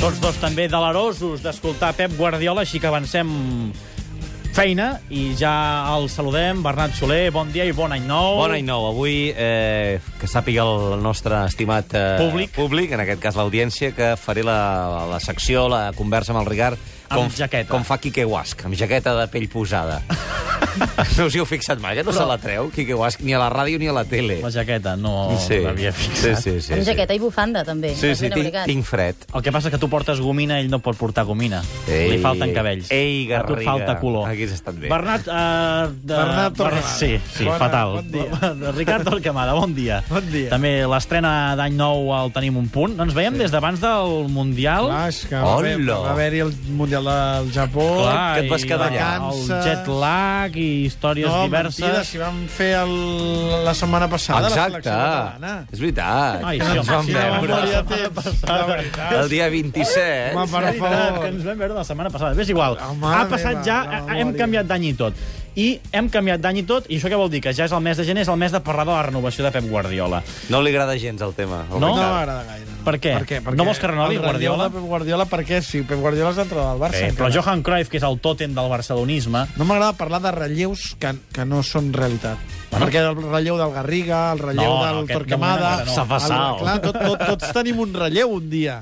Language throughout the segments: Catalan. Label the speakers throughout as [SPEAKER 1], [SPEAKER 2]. [SPEAKER 1] Tots dos també delerosos d'escoltar Pep Guardiola, així que avancem feina i ja el saludem. Bernat Soler, bon dia i bon any nou.
[SPEAKER 2] Bon any nou. Avui, eh, que sàpiga el nostre estimat eh,
[SPEAKER 1] Públic.
[SPEAKER 2] públic, en aquest cas l'audiència, que faré la, la secció, la conversa amb el Ricard,
[SPEAKER 1] Amb
[SPEAKER 2] com,
[SPEAKER 1] jaqueta.
[SPEAKER 2] com fa Quique Huasc, amb jaqueta de pell posada. no us hi heu fixat mai, que no Però... se la treu, Quique Huasc, ni a la ràdio ni a la tele.
[SPEAKER 1] La jaqueta, no
[SPEAKER 2] sí.
[SPEAKER 1] l'havia
[SPEAKER 2] sí,
[SPEAKER 1] fixat.
[SPEAKER 2] sí, sí.
[SPEAKER 3] Amb
[SPEAKER 2] sí.
[SPEAKER 3] jaqueta i bufanda, també.
[SPEAKER 2] Sí, sí, tinc,
[SPEAKER 3] Abrigat.
[SPEAKER 2] tinc fred.
[SPEAKER 1] El que passa és que tu portes gomina, ell no pot portar gomina.
[SPEAKER 2] Ei.
[SPEAKER 1] Li falten cabells.
[SPEAKER 2] Ei,
[SPEAKER 1] A tu et
[SPEAKER 2] Garriga.
[SPEAKER 1] falta color.
[SPEAKER 2] Aquí has estat bé.
[SPEAKER 1] Bernat... Uh, de...
[SPEAKER 4] Bernat Torquemada.
[SPEAKER 1] Sí, sí,
[SPEAKER 4] Bona-
[SPEAKER 1] fatal.
[SPEAKER 4] bon dia.
[SPEAKER 1] Ricard Torquemada, bon dia.
[SPEAKER 4] Bon dia.
[SPEAKER 1] També l'estrena d'any nou el tenim un punt. No ens veiem sí. des d'abans del Mundial.
[SPEAKER 4] Clar, és que va haver-
[SPEAKER 2] Hola.
[SPEAKER 4] va haver-hi el Mundial del Japó.
[SPEAKER 1] Clar,
[SPEAKER 2] que et vas
[SPEAKER 1] i
[SPEAKER 2] quedar allà.
[SPEAKER 1] El jet lag i històries
[SPEAKER 4] no,
[SPEAKER 1] diverses.
[SPEAKER 4] mentida, si vam fer el, la setmana passada la
[SPEAKER 2] Exacte.
[SPEAKER 4] selecció catalana.
[SPEAKER 2] És veritat.
[SPEAKER 1] Ai, sí,
[SPEAKER 2] ens
[SPEAKER 1] home,
[SPEAKER 2] vam
[SPEAKER 1] sí,
[SPEAKER 4] la memòria
[SPEAKER 2] veure.
[SPEAKER 4] té, la veritat.
[SPEAKER 2] El dia 27.
[SPEAKER 4] Home, per
[SPEAKER 1] És veritat,
[SPEAKER 4] favor.
[SPEAKER 1] que ens vam veure la setmana passada. Bé, és igual.
[SPEAKER 4] La mare
[SPEAKER 1] ha passat
[SPEAKER 4] meva,
[SPEAKER 1] ja,
[SPEAKER 4] la
[SPEAKER 1] ha- hem
[SPEAKER 4] memòria.
[SPEAKER 1] canviat d'any i tot. I hem canviat d'any i tot, i això què vol dir? Que ja és el mes de gener, és el mes de parlar de la renovació de Pep Guardiola.
[SPEAKER 2] No li agrada gens el tema. al
[SPEAKER 1] No?
[SPEAKER 4] No
[SPEAKER 2] Ricard.
[SPEAKER 4] m'agrada gaire.
[SPEAKER 1] Per què?
[SPEAKER 4] Per què?
[SPEAKER 1] No vols que renovi
[SPEAKER 4] el relleu
[SPEAKER 1] Guardiola?
[SPEAKER 4] de Pep Guardiola, per què? Sí, Pep Guardiola és l'entrenador del Barça.
[SPEAKER 1] Bé, però
[SPEAKER 4] encara.
[SPEAKER 1] Johan Cruyff, que és el tòtem del barcelonisme,
[SPEAKER 2] Eh,
[SPEAKER 4] No m'agrada parlar de relleus que, que no són realitat. Bueno. Perquè el relleu del Garriga, el relleu
[SPEAKER 1] No, no,
[SPEAKER 4] del
[SPEAKER 1] aquest de
[SPEAKER 4] Torquemada...
[SPEAKER 1] moment encara no.
[SPEAKER 2] S'ha passat.
[SPEAKER 4] el- Clar, tot, tot, tots tenim un relleu un dia,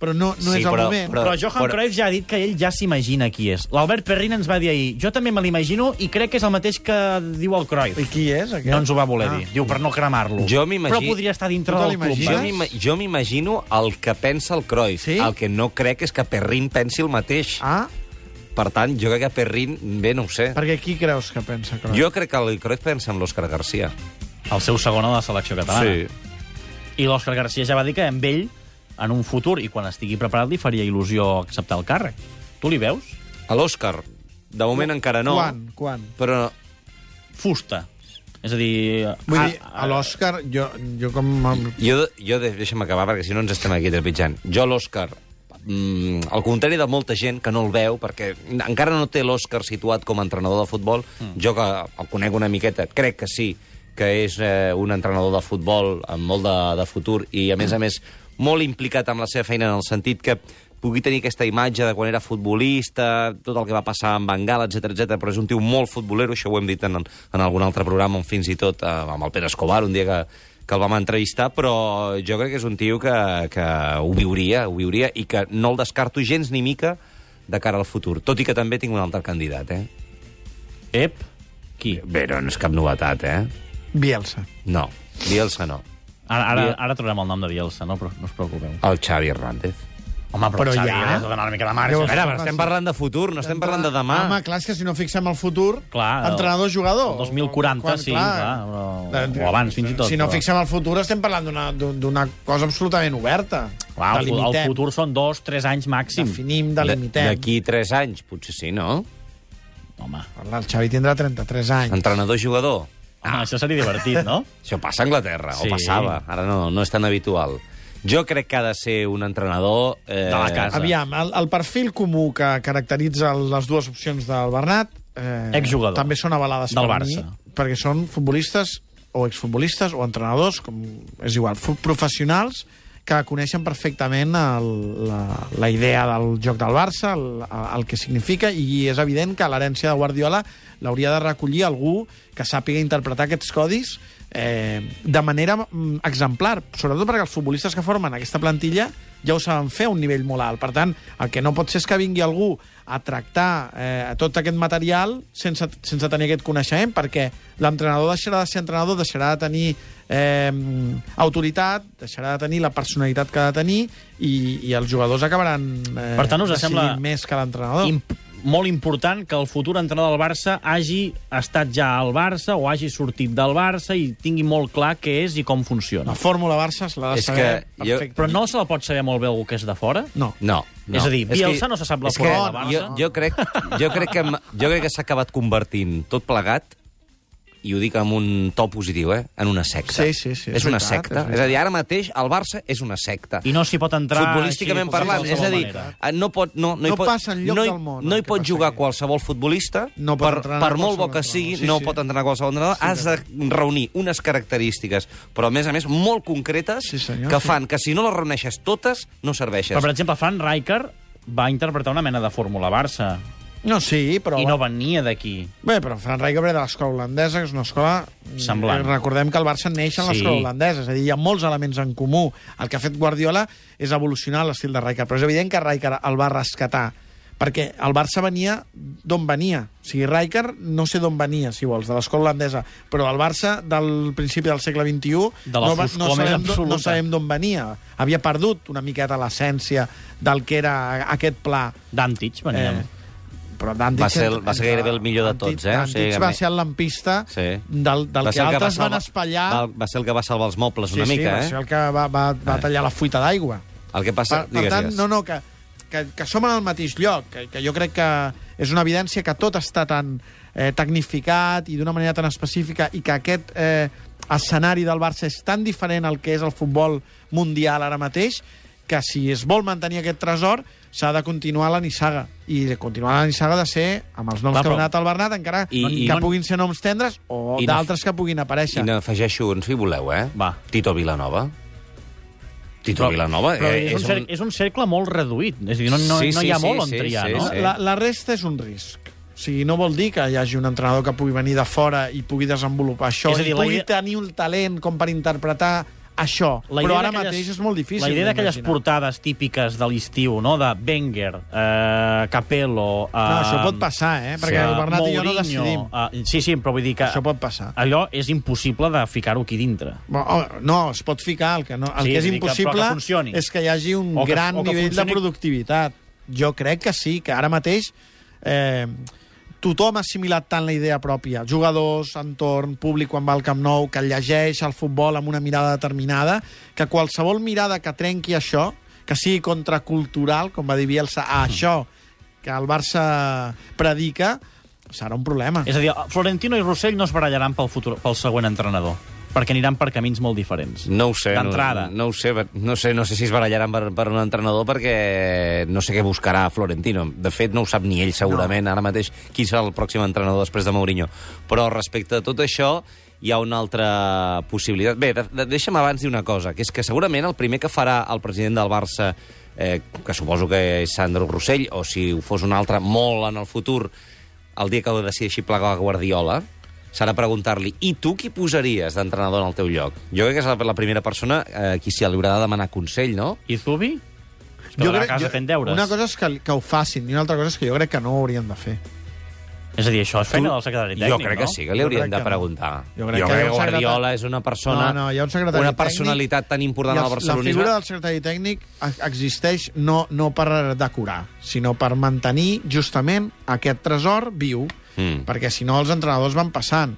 [SPEAKER 4] però no, no
[SPEAKER 2] Sí,
[SPEAKER 4] és el
[SPEAKER 2] però-
[SPEAKER 4] moment.
[SPEAKER 1] però,
[SPEAKER 2] Però-
[SPEAKER 1] Johan
[SPEAKER 2] però-
[SPEAKER 1] Cruyff ja ha dit que ell ja s'imagina qui és. L'Albert Perrin ens va dir ahir, jo també me l'imagino i crec que és el mateix que diu el Cruyff.
[SPEAKER 4] I qui és, aquest?
[SPEAKER 1] No ens ho va voler
[SPEAKER 4] Ah.
[SPEAKER 1] dir. Diu, per no cremar-lo.
[SPEAKER 2] Jo m'imagino-
[SPEAKER 1] Però podria estar dintre
[SPEAKER 4] Tu te
[SPEAKER 1] del club.
[SPEAKER 4] l'imagines?
[SPEAKER 2] Jo
[SPEAKER 1] eh?
[SPEAKER 2] m'ima- Jo m'imagino el que pensa el Cruyff.
[SPEAKER 4] Sí?
[SPEAKER 2] El que no crec és que Perrin pensi el mateix.
[SPEAKER 4] Ah,
[SPEAKER 2] Per tant, jo crec que Perrin... Bé, no ho sé.
[SPEAKER 4] perquè qui creus que pensa que...
[SPEAKER 2] Jo crec que el Cruyff pensa en l'Òscar Garcia.
[SPEAKER 1] El seu segon a la selecció catalana. I l'Òscar Garcia ja va dir que amb ell, en un futur, i quan estigui preparat, li faria il·lusió acceptar el càrrec. Tu li veus?
[SPEAKER 2] A l'Òscar, de moment encara no.
[SPEAKER 4] Quan? Quan?
[SPEAKER 2] Però
[SPEAKER 1] Fusta. És a dir...
[SPEAKER 4] Vull
[SPEAKER 1] ah,
[SPEAKER 4] dir, a l'Òscar, jo, jo com...
[SPEAKER 2] jo, jo de- deixa'm acabar, perquè si no ens estem aquí trepitjant. Jo a l'Òscar, mm, al contrari de molta gent que no el veu, perquè encara no té l'Òscar situat com a entrenador de futbol, mm. jo que el conec una miqueta, crec que sí, que és eh, un entrenador de futbol amb molt de, de futur i, a més a més, molt implicat amb la seva feina en el sentit que pugui tenir aquesta imatge de quan era futbolista, tot el que va passar amb Bengala, etc etc. però és un tio molt futbolero, això ho hem dit en, en algun altre programa, on fins i tot eh, amb el Pere Escobar, un dia que, que el vam entrevistar, però jo crec que és un tio que, que ho viuria, ho viuria, i que no el descarto gens ni mica de cara al futur, tot i que també tinc un altre candidat, eh?
[SPEAKER 1] Ep, qui?
[SPEAKER 2] Bé, no, no és cap novetat, eh?
[SPEAKER 4] Bielsa.
[SPEAKER 2] No, Bielsa no.
[SPEAKER 1] Ara, ara, ara trobem el nom de Bielsa, no, però no us preocupeu.
[SPEAKER 2] El Xavi Hernández.
[SPEAKER 1] Home, però,
[SPEAKER 4] Però
[SPEAKER 1] Xavi,
[SPEAKER 4] ja?
[SPEAKER 1] ja... has de donar una mica de marge.
[SPEAKER 4] Déu,
[SPEAKER 1] A
[SPEAKER 2] A
[SPEAKER 1] veure,
[SPEAKER 2] veure, estem parlant de futur, no estem parlant de demà.
[SPEAKER 4] Home, clar, és que si no fixem el futur,
[SPEAKER 1] Clar, el-
[SPEAKER 4] entrenador-jugador.
[SPEAKER 1] el 2040, sí, clar, però- o abans, fins i tot,
[SPEAKER 4] Si no
[SPEAKER 1] però-
[SPEAKER 4] fixem el futur, estem parlant d'una- d'un- d'una cosa absolutament oberta.
[SPEAKER 1] clar, el, fu- el
[SPEAKER 4] Delimitem,
[SPEAKER 1] futur són dos, tres anys màxim.
[SPEAKER 4] Definim,
[SPEAKER 2] De-
[SPEAKER 4] delimitem.
[SPEAKER 2] D'aquí 3 anys, potser sí, no?
[SPEAKER 1] Home,
[SPEAKER 4] Parla, El Xavi tindrà 33 anys.
[SPEAKER 2] Entrenador-jugador.
[SPEAKER 1] home, això seria divertit, no?
[SPEAKER 2] Això passa a Anglaterra,
[SPEAKER 1] Sí.
[SPEAKER 2] o passava. Ara no, no és tan habitual. Jo crec que ha de ser un entrenador... Eh,
[SPEAKER 1] De la casa.
[SPEAKER 4] Aviam, el, el perfil comú que caracteritza les dues opcions del Bernat... Eh,
[SPEAKER 1] Exjugador.
[SPEAKER 4] També són avalades
[SPEAKER 1] Del
[SPEAKER 4] per
[SPEAKER 1] Barça.
[SPEAKER 4] mi, perquè són futbolistes o exfutbolistes o entrenadors, com és igual, fu- professionals que coneixen perfectament el, la, la idea del joc del Barça, el, el que significa, i és evident que l'herència de Guardiola l'hauria de recollir algú que sàpiga interpretar aquests codis eh, de manera mm, exemplar, sobretot perquè els futbolistes que formen aquesta plantilla ja ho saben fer a un nivell molt alt. Per tant, el que no pot ser és que vingui algú a tractar eh, tot aquest material sense, sense tenir aquest coneixement, perquè l'entrenador deixarà de ser entrenador, deixarà de tenir eh, autoritat, deixarà de tenir la personalitat que ha de tenir i, i els jugadors acabaran eh,
[SPEAKER 1] Per tant, us
[SPEAKER 4] decidint
[SPEAKER 1] sembla
[SPEAKER 4] més que l'entrenador.
[SPEAKER 1] Imp molt important que el futur entrenador del Barça hagi estat ja al Barça o hagi sortit del Barça i tingui molt clar què és i com funciona.
[SPEAKER 4] La fórmula Barça se l'ha de
[SPEAKER 2] És
[SPEAKER 4] saber
[SPEAKER 2] que jo-
[SPEAKER 4] perfectament.
[SPEAKER 1] Però no se la pot saber molt bé algú que és de fora?
[SPEAKER 4] No.
[SPEAKER 2] No, no.
[SPEAKER 1] És a dir,
[SPEAKER 2] que-
[SPEAKER 1] Bielsa no se sap la
[SPEAKER 2] és que
[SPEAKER 1] fórmula del Barça.
[SPEAKER 2] Jo, jo, crec, jo crec que, em- jo crec que s'ha acabat convertint tot plegat i ho dic amb un to positiu, eh? en una secta.
[SPEAKER 4] Sí, sí, sí, és
[SPEAKER 2] És, una
[SPEAKER 4] veritat,
[SPEAKER 2] secta.
[SPEAKER 4] és
[SPEAKER 2] És, a dir, ara mateix el Barça és una secta.
[SPEAKER 1] I no s'hi pot entrar...
[SPEAKER 2] Futbolísticament
[SPEAKER 1] així,
[SPEAKER 2] parlant,
[SPEAKER 1] de
[SPEAKER 2] és a
[SPEAKER 1] qualsevol
[SPEAKER 2] dir,
[SPEAKER 1] manera.
[SPEAKER 2] eh, no, pot, no, no,
[SPEAKER 4] No
[SPEAKER 2] hi pot,
[SPEAKER 4] passa enlloc
[SPEAKER 2] no, hi-
[SPEAKER 4] del món,
[SPEAKER 2] No hi
[SPEAKER 4] el que
[SPEAKER 2] pot
[SPEAKER 4] passa
[SPEAKER 2] jugar
[SPEAKER 4] aquí.
[SPEAKER 2] qualsevol futbolista,
[SPEAKER 4] No pot
[SPEAKER 2] per,
[SPEAKER 4] entrenar
[SPEAKER 2] per molt bo
[SPEAKER 4] qualsevol
[SPEAKER 2] que sigui,
[SPEAKER 4] entrenador, sí,
[SPEAKER 2] no
[SPEAKER 4] sí.
[SPEAKER 2] pot entrenar qualsevol entrenador, has de reunir unes característiques, però a més a més molt concretes,
[SPEAKER 4] Sí, senyor,
[SPEAKER 2] que
[SPEAKER 4] sí.
[SPEAKER 2] fan que si no les reuneixes totes, no serveixes.
[SPEAKER 1] Però, per exemple, Frank Rijkaard va interpretar una mena de fórmula Barça
[SPEAKER 4] No, sí, però...
[SPEAKER 1] i no venia d'aquí.
[SPEAKER 4] Bé, però Fran Rijkaard ve de l'escola holandesa, que és una escola...
[SPEAKER 1] Semblant.
[SPEAKER 4] Eh, Recordem que el Barça neix en
[SPEAKER 1] Sí.
[SPEAKER 4] l'escola holandesa, és a dir, hi ha molts elements en comú. El que ha fet Guardiola és evolucionar l'estil de Rijkaard, però és evident que Rijkaard el va rescatar, perquè el Barça venia d'on venia. O sigui, Rijkaard no sé d'on venia, si vols, de l'escola holandesa, però el Barça del principi del segle XXI
[SPEAKER 1] De la
[SPEAKER 4] no, va-
[SPEAKER 1] foscor
[SPEAKER 4] no,
[SPEAKER 1] més
[SPEAKER 4] sabem, d'on- no
[SPEAKER 1] absoluta.
[SPEAKER 4] sabem d'on venia. Havia perdut una miqueta l'essència del que era aquest pla
[SPEAKER 1] Dantich venia.
[SPEAKER 4] Eh,
[SPEAKER 1] Eh.
[SPEAKER 4] però Dantich...
[SPEAKER 2] Va ser el- va ser
[SPEAKER 4] entre-
[SPEAKER 2] gairebé el millor de
[SPEAKER 4] Dantich-
[SPEAKER 2] tots, eh? O sigui,
[SPEAKER 4] Dantich
[SPEAKER 2] a
[SPEAKER 4] va
[SPEAKER 2] mi-
[SPEAKER 4] ser el lampista
[SPEAKER 2] Sí.
[SPEAKER 4] del, del
[SPEAKER 2] Va
[SPEAKER 4] que
[SPEAKER 2] ser el
[SPEAKER 4] altres
[SPEAKER 2] va salvar-
[SPEAKER 4] van espallar...
[SPEAKER 2] Va, va ser el que va salvar els mobles una
[SPEAKER 4] sí, sí,
[SPEAKER 2] mica,
[SPEAKER 4] va
[SPEAKER 2] eh?
[SPEAKER 4] ser el que va, va, va tallar la fuita d'aigua.
[SPEAKER 2] El que passa...
[SPEAKER 4] Per, per
[SPEAKER 2] digues,
[SPEAKER 4] tant,
[SPEAKER 2] digues.
[SPEAKER 4] no, no, que, que, que som en el mateix lloc, que, que jo crec que és una evidència que tot està tan eh, tecnificat i d'una manera tan específica i que aquest eh, escenari del Barça és tan diferent al que és el futbol mundial ara mateix que si es vol mantenir aquest tresor s'ha de continuar la nissaga i de continuar la nissaga ha de ser amb els noms
[SPEAKER 1] Clar,
[SPEAKER 4] que
[SPEAKER 1] però-
[SPEAKER 4] ha donat el Bernat encara I,
[SPEAKER 2] I-
[SPEAKER 4] que
[SPEAKER 1] i-
[SPEAKER 4] puguin ser noms tendres o
[SPEAKER 2] I no-
[SPEAKER 4] d'altres que puguin
[SPEAKER 2] I
[SPEAKER 4] aparèixer
[SPEAKER 2] n'afegeixo un, si voleu, eh?
[SPEAKER 1] Va.
[SPEAKER 2] Tito Vilanova. Tito
[SPEAKER 1] Però-
[SPEAKER 2] Vilanova
[SPEAKER 1] Però
[SPEAKER 2] eh,
[SPEAKER 1] és, un cercle, és un cercle molt reduït. És a dir, no, no,
[SPEAKER 2] Sí,
[SPEAKER 1] no
[SPEAKER 2] sí,
[SPEAKER 1] hi ha
[SPEAKER 2] sí,
[SPEAKER 1] molt on
[SPEAKER 2] sí,
[SPEAKER 1] triar,
[SPEAKER 2] sí,
[SPEAKER 1] no?
[SPEAKER 2] sí.
[SPEAKER 4] La, la resta és un risc. O sigui, no vol dir que hi hagi un entrenador que pugui venir de fora i pugui desenvolupar això,
[SPEAKER 1] És a dir,
[SPEAKER 4] i
[SPEAKER 1] la
[SPEAKER 4] pugui
[SPEAKER 1] idea-
[SPEAKER 4] tenir un talent com per interpretar això.
[SPEAKER 1] La idea
[SPEAKER 4] Però ara
[SPEAKER 1] d'aquelles-
[SPEAKER 4] mateix és molt difícil.
[SPEAKER 1] La idea d'aquelles
[SPEAKER 4] d'imaginar.
[SPEAKER 1] portades típiques de l'estiu, no? de Wenger, eh, Capello... Eh,
[SPEAKER 4] No, això pot passar, eh? Perquè
[SPEAKER 2] sí,
[SPEAKER 4] el Bernat i jo no
[SPEAKER 1] Mourinho,
[SPEAKER 4] decidim.
[SPEAKER 1] Eh, sí, sí, però vull dir que
[SPEAKER 4] Això pot passar.
[SPEAKER 1] allò és impossible de ficar-ho aquí dintre.
[SPEAKER 4] Bo- oh, No, es pot ficar. El que, no, el
[SPEAKER 1] Sí,
[SPEAKER 4] que és
[SPEAKER 1] vull dir que-
[SPEAKER 4] impossible
[SPEAKER 1] però que funcioni.
[SPEAKER 4] és que hi hagi un
[SPEAKER 1] O que-
[SPEAKER 4] gran
[SPEAKER 1] o que
[SPEAKER 4] nivell
[SPEAKER 1] funcioni-
[SPEAKER 4] de productivitat. Jo crec que sí, que ara mateix eh, tothom ha assimilat tant la idea pròpia. Jugadors, entorn, públic quan va al Camp Nou, que llegeix el futbol amb una mirada determinada, que qualsevol mirada que trenqui això, que sigui contracultural, com va dir Bielsa,
[SPEAKER 1] Mm.
[SPEAKER 4] a això que el Barça predica, serà un problema.
[SPEAKER 1] És a dir, Florentino i Rossell no es barallaran pel, futur, pel següent entrenador, perquè aniran per camins molt diferents.
[SPEAKER 2] Doncs No ho sé.
[SPEAKER 1] D'entrada.
[SPEAKER 2] No, no, ho sé, per- no, sé, no sé si es barallaran per, per un entrenador perquè no sé què buscarà Florentino. De fet, no ho sap ni ell segurament ara mateix qui serà el pròxim entrenador després de Mourinho. Però respecte a tot això hi ha una altra possibilitat. Bé, de, de, deixa'm abans dir una cosa, que és que segurament el primer que farà el president del Barça eh, que suposo que és Sandro Rossell, o si ho fos un altre molt en el futur, el dia que ho decideixi plegar Guardiola, serà preguntar-li, i tu qui posaries d'entrenador en el teu lloc? Jo crec que és la, la primera persona eh, qui se li haurà de demanar consell, no?
[SPEAKER 1] I Zubi? Es quedarà a casa fent deures.
[SPEAKER 4] Una cosa és que, que ho facin, i una altra cosa és que jo crec que no ho haurien de fer.
[SPEAKER 1] És a dir, això és feina del secretari tècnic,
[SPEAKER 2] jo crec
[SPEAKER 1] no?
[SPEAKER 2] que sí, que li
[SPEAKER 4] Jo
[SPEAKER 2] haurien
[SPEAKER 4] crec
[SPEAKER 2] de
[SPEAKER 4] que no.
[SPEAKER 2] preguntar.
[SPEAKER 4] Jo crec que hi ha un secretari-
[SPEAKER 2] Guardiola és una persona...
[SPEAKER 4] No, no, hi ha un secretari
[SPEAKER 2] una
[SPEAKER 4] tècnic
[SPEAKER 2] personalitat tan important
[SPEAKER 4] I
[SPEAKER 2] al
[SPEAKER 4] els-
[SPEAKER 2] barcelonisme.
[SPEAKER 4] La figura del secretari tècnic e- existeix no, no per decorar, sinó per mantenir justament aquest tresor viu,
[SPEAKER 2] Mm.
[SPEAKER 4] mm. perquè si no els entrenadors van passant.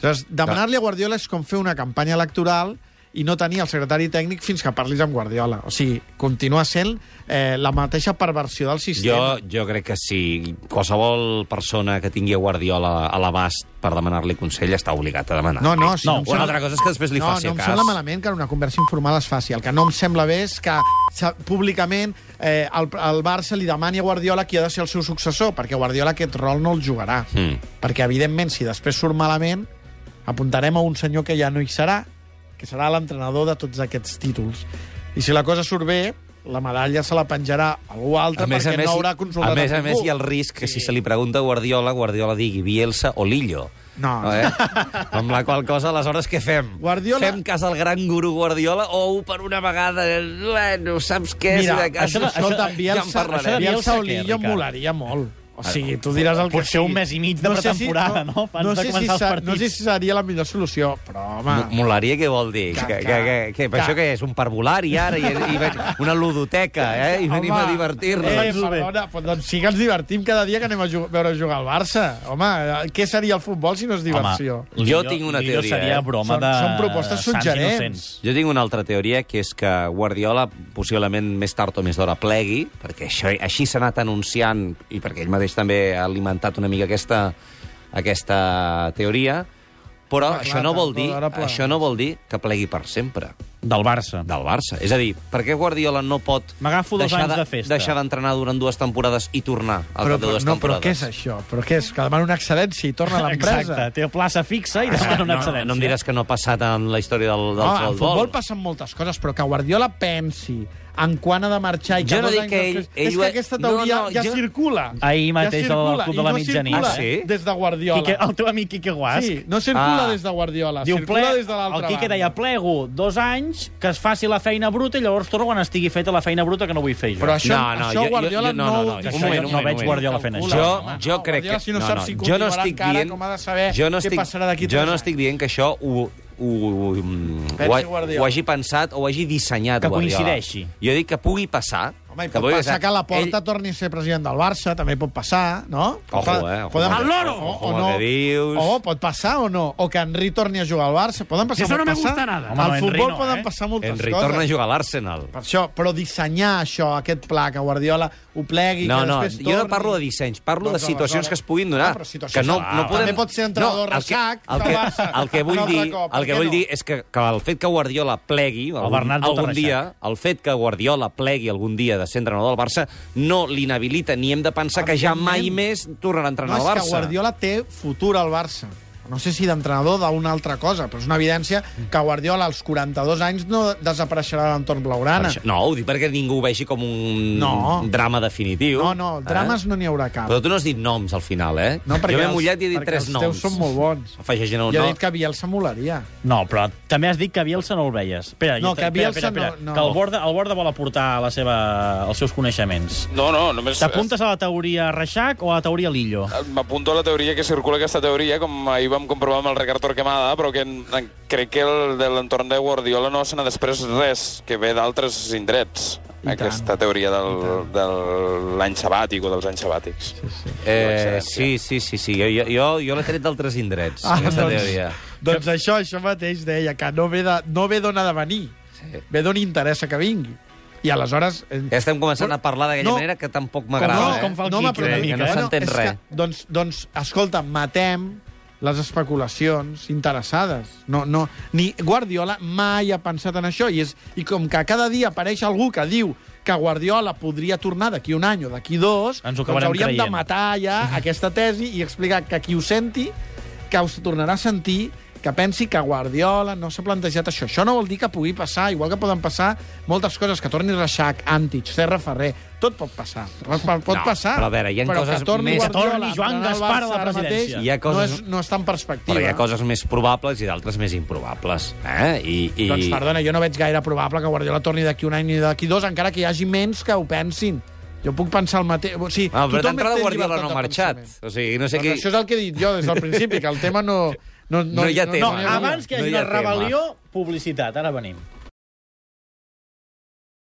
[SPEAKER 4] Aleshores, demanar-li a Guardiola és com fer una campanya electoral i no tenir el secretari tècnic fins que parlis amb Guardiola. O sigui, continua sent eh, la mateixa perversió del sistema.
[SPEAKER 2] Jo, jo crec que sí. Qualsevol persona que tingui a Guardiola a l'abast per demanar-li consell està obligat a demanar.
[SPEAKER 4] No, no, si
[SPEAKER 1] No,
[SPEAKER 4] no,
[SPEAKER 1] una
[SPEAKER 4] em
[SPEAKER 2] Una
[SPEAKER 4] sembla-
[SPEAKER 2] altra cosa és que després li
[SPEAKER 4] no,
[SPEAKER 2] faci
[SPEAKER 4] no em
[SPEAKER 2] cas.
[SPEAKER 4] sembla malament que en una conversa informal es faci. El que no em sembla bé és que sa- públicament eh, el, el Barça li demani a Guardiola qui ha de ser el seu successor, perquè Guardiola aquest rol no el jugarà.
[SPEAKER 2] Mm.
[SPEAKER 4] Perquè, evidentment, si després surt malament, apuntarem a un senyor que ja no hi serà, que serà l'entrenador de tots aquests títols. I si la cosa surt bé, la medalla se la penjarà algú altre perquè no haurà consultat
[SPEAKER 2] a més a
[SPEAKER 4] ningú.
[SPEAKER 2] més hi ha el risc que si se li pregunta a Guardiola, Guardiola digui Bielsa o Lillo.
[SPEAKER 4] No.
[SPEAKER 2] Eh? Amb la qual cosa, aleshores, què fem?
[SPEAKER 4] Guardiola-
[SPEAKER 2] Fem cas al gran guru Guardiola o per una vegada, bueno, saps què?
[SPEAKER 4] Mira,
[SPEAKER 2] si de cas,
[SPEAKER 4] això, de, això,
[SPEAKER 2] ja
[SPEAKER 4] això,
[SPEAKER 2] en
[SPEAKER 4] Bielsa,
[SPEAKER 2] parlarem.
[SPEAKER 4] això de Bielsa
[SPEAKER 1] Bielsa
[SPEAKER 4] Oli
[SPEAKER 1] què,
[SPEAKER 4] jo em
[SPEAKER 1] Ricard?
[SPEAKER 4] molaria molt. O sigui, tu diràs el que
[SPEAKER 1] Potser
[SPEAKER 4] sigui.
[SPEAKER 1] un mes i mig de pretemporada, no? Abans
[SPEAKER 4] no,
[SPEAKER 1] de
[SPEAKER 4] sé si,
[SPEAKER 1] començar els
[SPEAKER 4] se-
[SPEAKER 1] partits.
[SPEAKER 4] no sé si seria la millor solució, però, home...
[SPEAKER 2] Mo- Molaria, què vol dir?
[SPEAKER 4] Que-
[SPEAKER 2] Que, que,
[SPEAKER 4] que-
[SPEAKER 2] que, que, per
[SPEAKER 4] que-
[SPEAKER 2] això que és un parvulari, ara, i, i ven- una ludoteca, eh? I venim a
[SPEAKER 4] home,
[SPEAKER 2] divertir-nos.
[SPEAKER 4] Eh, perdona, però doncs sí que ens divertim cada dia que anem a jug veure jugar al Barça. Home, eh, què seria el futbol si no és diversió?
[SPEAKER 1] Home,
[SPEAKER 2] Jo
[SPEAKER 1] Lillo-
[SPEAKER 2] tinc una
[SPEAKER 1] Lillo
[SPEAKER 2] teoria,
[SPEAKER 1] seria
[SPEAKER 2] eh?
[SPEAKER 1] broma
[SPEAKER 4] Són-
[SPEAKER 1] de...
[SPEAKER 4] són propostes
[SPEAKER 1] sants
[SPEAKER 4] suggerents.
[SPEAKER 1] innocents.
[SPEAKER 2] Jo tinc una altra teoria, que és que Guardiola possiblement més tard o més d'hora plegui, perquè això, així s'ha anat anunciant, i perquè ell mateix també ha alimentat una mica aquesta, aquesta teoria, Però
[SPEAKER 4] Clar,
[SPEAKER 2] això
[SPEAKER 4] clar,
[SPEAKER 2] no,
[SPEAKER 4] tant,
[SPEAKER 2] vol dir,
[SPEAKER 4] però ara pla-
[SPEAKER 2] això no vol dir que plegui per sempre
[SPEAKER 1] Del Barça.
[SPEAKER 2] del Barça. És a dir, per què Guardiola no pot
[SPEAKER 1] M'agafo dos
[SPEAKER 2] deixar
[SPEAKER 1] anys de festa.
[SPEAKER 2] deixar d'entrenar durant dues temporades i tornar al
[SPEAKER 4] Però,
[SPEAKER 2] cap de
[SPEAKER 4] però,
[SPEAKER 2] dues
[SPEAKER 4] no, però
[SPEAKER 2] temporades?
[SPEAKER 4] què és això? Però què és? Que demana una excel·lència i torna a l'empresa?
[SPEAKER 1] Exacte, té plaça fixa i demana una excel·lència.
[SPEAKER 2] Ah, No, no em diràs que no ha passat en la història del, del
[SPEAKER 4] No,
[SPEAKER 2] futbol.
[SPEAKER 4] en futbol passen moltes coses, però que Guardiola pensi en quan ha de marxar i que
[SPEAKER 2] Jo no
[SPEAKER 4] dos
[SPEAKER 2] dic
[SPEAKER 4] anys
[SPEAKER 2] que ell-
[SPEAKER 4] després...
[SPEAKER 2] ell
[SPEAKER 4] és
[SPEAKER 2] ho
[SPEAKER 4] que
[SPEAKER 2] ha-
[SPEAKER 4] aquesta
[SPEAKER 2] no,
[SPEAKER 4] teoria
[SPEAKER 2] no,
[SPEAKER 4] ja
[SPEAKER 2] jo-
[SPEAKER 4] circula.
[SPEAKER 1] Ahir mateix
[SPEAKER 4] ja
[SPEAKER 1] al
[SPEAKER 4] circula,
[SPEAKER 1] Club
[SPEAKER 4] i
[SPEAKER 1] de la
[SPEAKER 4] no
[SPEAKER 1] Mitjanit.
[SPEAKER 4] circula
[SPEAKER 2] Ah, sí?
[SPEAKER 4] Des de Guardiola.
[SPEAKER 1] Quique, el teu amic Quique Guas
[SPEAKER 4] Sí, no circula
[SPEAKER 2] Ah.
[SPEAKER 4] des de Guardiola,
[SPEAKER 1] diu
[SPEAKER 4] circula
[SPEAKER 1] ple...
[SPEAKER 4] des de l'altra
[SPEAKER 1] El Quique
[SPEAKER 4] banda.
[SPEAKER 1] deia, plego dos anys, que es faci la feina bruta i llavors torno quan estigui feta la feina bruta que no vull fer jo.
[SPEAKER 4] Però això,
[SPEAKER 2] No, no,
[SPEAKER 4] això
[SPEAKER 2] jo- jo-
[SPEAKER 4] Guardiola
[SPEAKER 2] jo- no, no,
[SPEAKER 4] ho
[SPEAKER 2] no,
[SPEAKER 4] diu.
[SPEAKER 2] un
[SPEAKER 1] moment, un moment, un moment.
[SPEAKER 2] Jo,
[SPEAKER 1] Clar,
[SPEAKER 4] home.
[SPEAKER 2] jo
[SPEAKER 4] No,
[SPEAKER 2] crec
[SPEAKER 4] Guardiola,
[SPEAKER 2] que...
[SPEAKER 4] Si no, sap si
[SPEAKER 2] jo no
[SPEAKER 4] continuarà
[SPEAKER 2] estic
[SPEAKER 4] encara,
[SPEAKER 2] dient,
[SPEAKER 4] com ha de saber
[SPEAKER 2] jo no estic,
[SPEAKER 4] què passarà d'aquí
[SPEAKER 2] Jo
[SPEAKER 4] tres
[SPEAKER 2] no
[SPEAKER 4] anys.
[SPEAKER 2] estic dient que això ho, ho, ho, ho,
[SPEAKER 4] Pensi
[SPEAKER 2] ho,
[SPEAKER 4] Guardiola.
[SPEAKER 2] ho hagi pensat o ho hagi dissenyat
[SPEAKER 1] Que
[SPEAKER 2] Guardiola.
[SPEAKER 1] coincideixi.
[SPEAKER 2] Jo dic que pugui passar.
[SPEAKER 4] Home, i
[SPEAKER 2] que
[SPEAKER 4] pot
[SPEAKER 2] pugui
[SPEAKER 4] passar
[SPEAKER 2] passar.
[SPEAKER 4] que la porta ell... torni a ser president del Barça, també pot passar, no?
[SPEAKER 2] Ojo,
[SPEAKER 4] Poden-
[SPEAKER 2] eh, ojo
[SPEAKER 4] Poden...
[SPEAKER 2] amb el-
[SPEAKER 4] Al loro!
[SPEAKER 2] ojo amb el que dius.
[SPEAKER 4] O pot passar o no. O que Henry torni a jugar al Barça. Poden passar
[SPEAKER 3] Eso no
[SPEAKER 4] molt
[SPEAKER 3] me
[SPEAKER 4] passar.
[SPEAKER 3] gusta nada.
[SPEAKER 1] Home, no,
[SPEAKER 4] Al
[SPEAKER 1] Henry
[SPEAKER 4] futbol
[SPEAKER 1] no,
[SPEAKER 4] poden
[SPEAKER 1] eh?
[SPEAKER 4] passar moltes
[SPEAKER 2] Henry
[SPEAKER 4] coses.
[SPEAKER 2] torna a jugar a l'Arsenal.
[SPEAKER 4] Per això, però dissenyar això, aquest pla, que Guardiola ho plegui,
[SPEAKER 2] No,
[SPEAKER 4] que
[SPEAKER 2] no,
[SPEAKER 4] després
[SPEAKER 2] jo no
[SPEAKER 4] torni...
[SPEAKER 2] parlo de dissenys, parlo
[SPEAKER 4] Doncs
[SPEAKER 2] de situacions
[SPEAKER 4] aleshores-
[SPEAKER 2] que es puguin donar.
[SPEAKER 4] Ah, però situacions-
[SPEAKER 2] que no,
[SPEAKER 4] Ah,
[SPEAKER 2] no podem...
[SPEAKER 4] també pot ser
[SPEAKER 2] el
[SPEAKER 4] entrenador
[SPEAKER 2] que-
[SPEAKER 4] ressac
[SPEAKER 2] el
[SPEAKER 4] del
[SPEAKER 2] que,
[SPEAKER 4] Barça.
[SPEAKER 2] el que
[SPEAKER 4] Un
[SPEAKER 2] vull,
[SPEAKER 4] altre
[SPEAKER 2] dir,
[SPEAKER 4] cop,
[SPEAKER 2] el
[SPEAKER 4] per
[SPEAKER 2] que
[SPEAKER 4] què
[SPEAKER 2] vull
[SPEAKER 4] no?
[SPEAKER 2] dir és que, que el fet que Guardiola plegui algun,
[SPEAKER 1] Bernat tot
[SPEAKER 2] algun
[SPEAKER 1] ressac.
[SPEAKER 2] dia, el fet que Guardiola plegui algun dia de ser entrenador del Barça no l'inhabilita ni hem de pensar que ja mai més tornarà a
[SPEAKER 4] No,
[SPEAKER 2] entrenar
[SPEAKER 4] és
[SPEAKER 2] el
[SPEAKER 4] que
[SPEAKER 2] Barça.
[SPEAKER 4] Guardiola té futur al Barça. No sé si d'entrenador d'una altra cosa, però és una evidència que Guardiola als 42 anys no desapareixerà de l'entorn
[SPEAKER 2] Per
[SPEAKER 4] blaugrana.
[SPEAKER 2] això- No, ho dic perquè ningú ho vegi com un
[SPEAKER 4] No.
[SPEAKER 2] drama definitiu.
[SPEAKER 4] No, no, drames no n'hi haurà cap.
[SPEAKER 2] eh? Però tu no has dit noms al final, eh?
[SPEAKER 4] No, perquè
[SPEAKER 2] jo m'he
[SPEAKER 4] els-
[SPEAKER 2] mullat i he dit
[SPEAKER 4] perquè
[SPEAKER 2] tres noms.
[SPEAKER 4] Els teus són molt bons.
[SPEAKER 2] Afegeixen un
[SPEAKER 4] Jo he
[SPEAKER 2] nom.
[SPEAKER 4] dit que Bielsa molaria.
[SPEAKER 1] No, però també has dit que Bielsa no el veies. Espera,
[SPEAKER 4] No,
[SPEAKER 1] jo-
[SPEAKER 4] que
[SPEAKER 1] espera,
[SPEAKER 4] Bielsa
[SPEAKER 1] espera,
[SPEAKER 4] no-
[SPEAKER 1] espera,
[SPEAKER 4] no.
[SPEAKER 1] Que el Borda, el Borda vol aportar la seva, els seus coneixements.
[SPEAKER 5] No, no, només... eh,
[SPEAKER 1] T'apuntes a la teoria Reixac o a la teoria Lillo?
[SPEAKER 4] Eh,
[SPEAKER 5] M'apunto a la teoria que circula aquesta teoria, com ahir vam comprovar amb el Ricard Torquemada, però que en- en- crec que el, de l'entorn de Guardiola no se n'ha després res, que ve d'altres indrets,
[SPEAKER 4] tant.
[SPEAKER 5] aquesta teoria del, de l'any sabàtic o dels anys sabàtics. Sí, sí.
[SPEAKER 2] Eh, sí, sí, sí, sí. Jo, jo- jo, jo l'he tret d'altres indrets, ah, aquesta
[SPEAKER 4] doncs,
[SPEAKER 2] teoria.
[SPEAKER 4] doncs això, això mateix deia, que no ve de- no ve d'on ha de venir,
[SPEAKER 2] Sí.
[SPEAKER 4] ve d'on interessa que vingui. I aleshores... eh,
[SPEAKER 2] Ja estem començant a parlar d'aquella
[SPEAKER 4] No.
[SPEAKER 2] manera que tampoc
[SPEAKER 4] com
[SPEAKER 2] m'agrada.
[SPEAKER 4] no,
[SPEAKER 2] eh?
[SPEAKER 1] com fa el
[SPEAKER 4] no
[SPEAKER 1] Quique,
[SPEAKER 4] m'apropa
[SPEAKER 1] una
[SPEAKER 4] ni
[SPEAKER 1] mica,
[SPEAKER 4] que
[SPEAKER 1] eh?
[SPEAKER 2] No s'entén
[SPEAKER 4] és
[SPEAKER 2] res.
[SPEAKER 4] Que, doncs, doncs, escolta, matem les especulacions interessades. No, no, ni Guardiola mai ha pensat en això. I, és, I com que cada dia apareix algú que diu que Guardiola podria tornar d'aquí un any o d'aquí
[SPEAKER 1] Ens ho
[SPEAKER 4] dos, doncs
[SPEAKER 1] acabarem
[SPEAKER 4] hauríem de
[SPEAKER 1] creient.
[SPEAKER 4] matar ja aquesta tesi i explicar que qui ho senti, que us tornarà a sentir, que pensi que Guardiola no s'ha plantejat això. Això no vol dir que pugui passar, igual que poden passar moltes coses, que torni Reixac, Antic, Serra Ferrer, tot pot passar. Pot, pot
[SPEAKER 2] No,
[SPEAKER 4] passar.
[SPEAKER 2] però a veure, hi ha
[SPEAKER 4] però
[SPEAKER 2] coses
[SPEAKER 4] que torni
[SPEAKER 2] més-
[SPEAKER 4] Guardiola,
[SPEAKER 1] Que torni Joan
[SPEAKER 4] a entrenar el
[SPEAKER 1] Gaspar a la
[SPEAKER 4] Barça ara
[SPEAKER 1] presidència.
[SPEAKER 4] mateix,
[SPEAKER 2] Hi ha coses-
[SPEAKER 4] No, és, no està en perspectiva.
[SPEAKER 2] Però hi ha coses més probables i d'altres més improbables. Eh? I, i...
[SPEAKER 4] Doncs perdona, jo no veig gaire probable que Guardiola torni d'aquí un any ni d'aquí dos, encara que hi hagi menys que ho pensin. Jo puc pensar el mateix... O sigui,
[SPEAKER 2] Ah, però
[SPEAKER 4] tothom
[SPEAKER 2] d'entrada
[SPEAKER 4] té
[SPEAKER 2] Guardiola
[SPEAKER 4] llibertat
[SPEAKER 2] no ha
[SPEAKER 4] de
[SPEAKER 2] marxat.
[SPEAKER 4] pensament.
[SPEAKER 2] O sigui, no sé
[SPEAKER 4] Doncs
[SPEAKER 2] qui...
[SPEAKER 4] Això és el que he dit jo des del principi, que el tema no... No,
[SPEAKER 2] No hi ha tema.
[SPEAKER 1] No,
[SPEAKER 4] n'hi
[SPEAKER 2] no,
[SPEAKER 1] abans que hi
[SPEAKER 2] no
[SPEAKER 1] hagi
[SPEAKER 2] hi ha
[SPEAKER 1] una
[SPEAKER 2] tema.
[SPEAKER 1] rebel·lió, publicitat. Ara venim.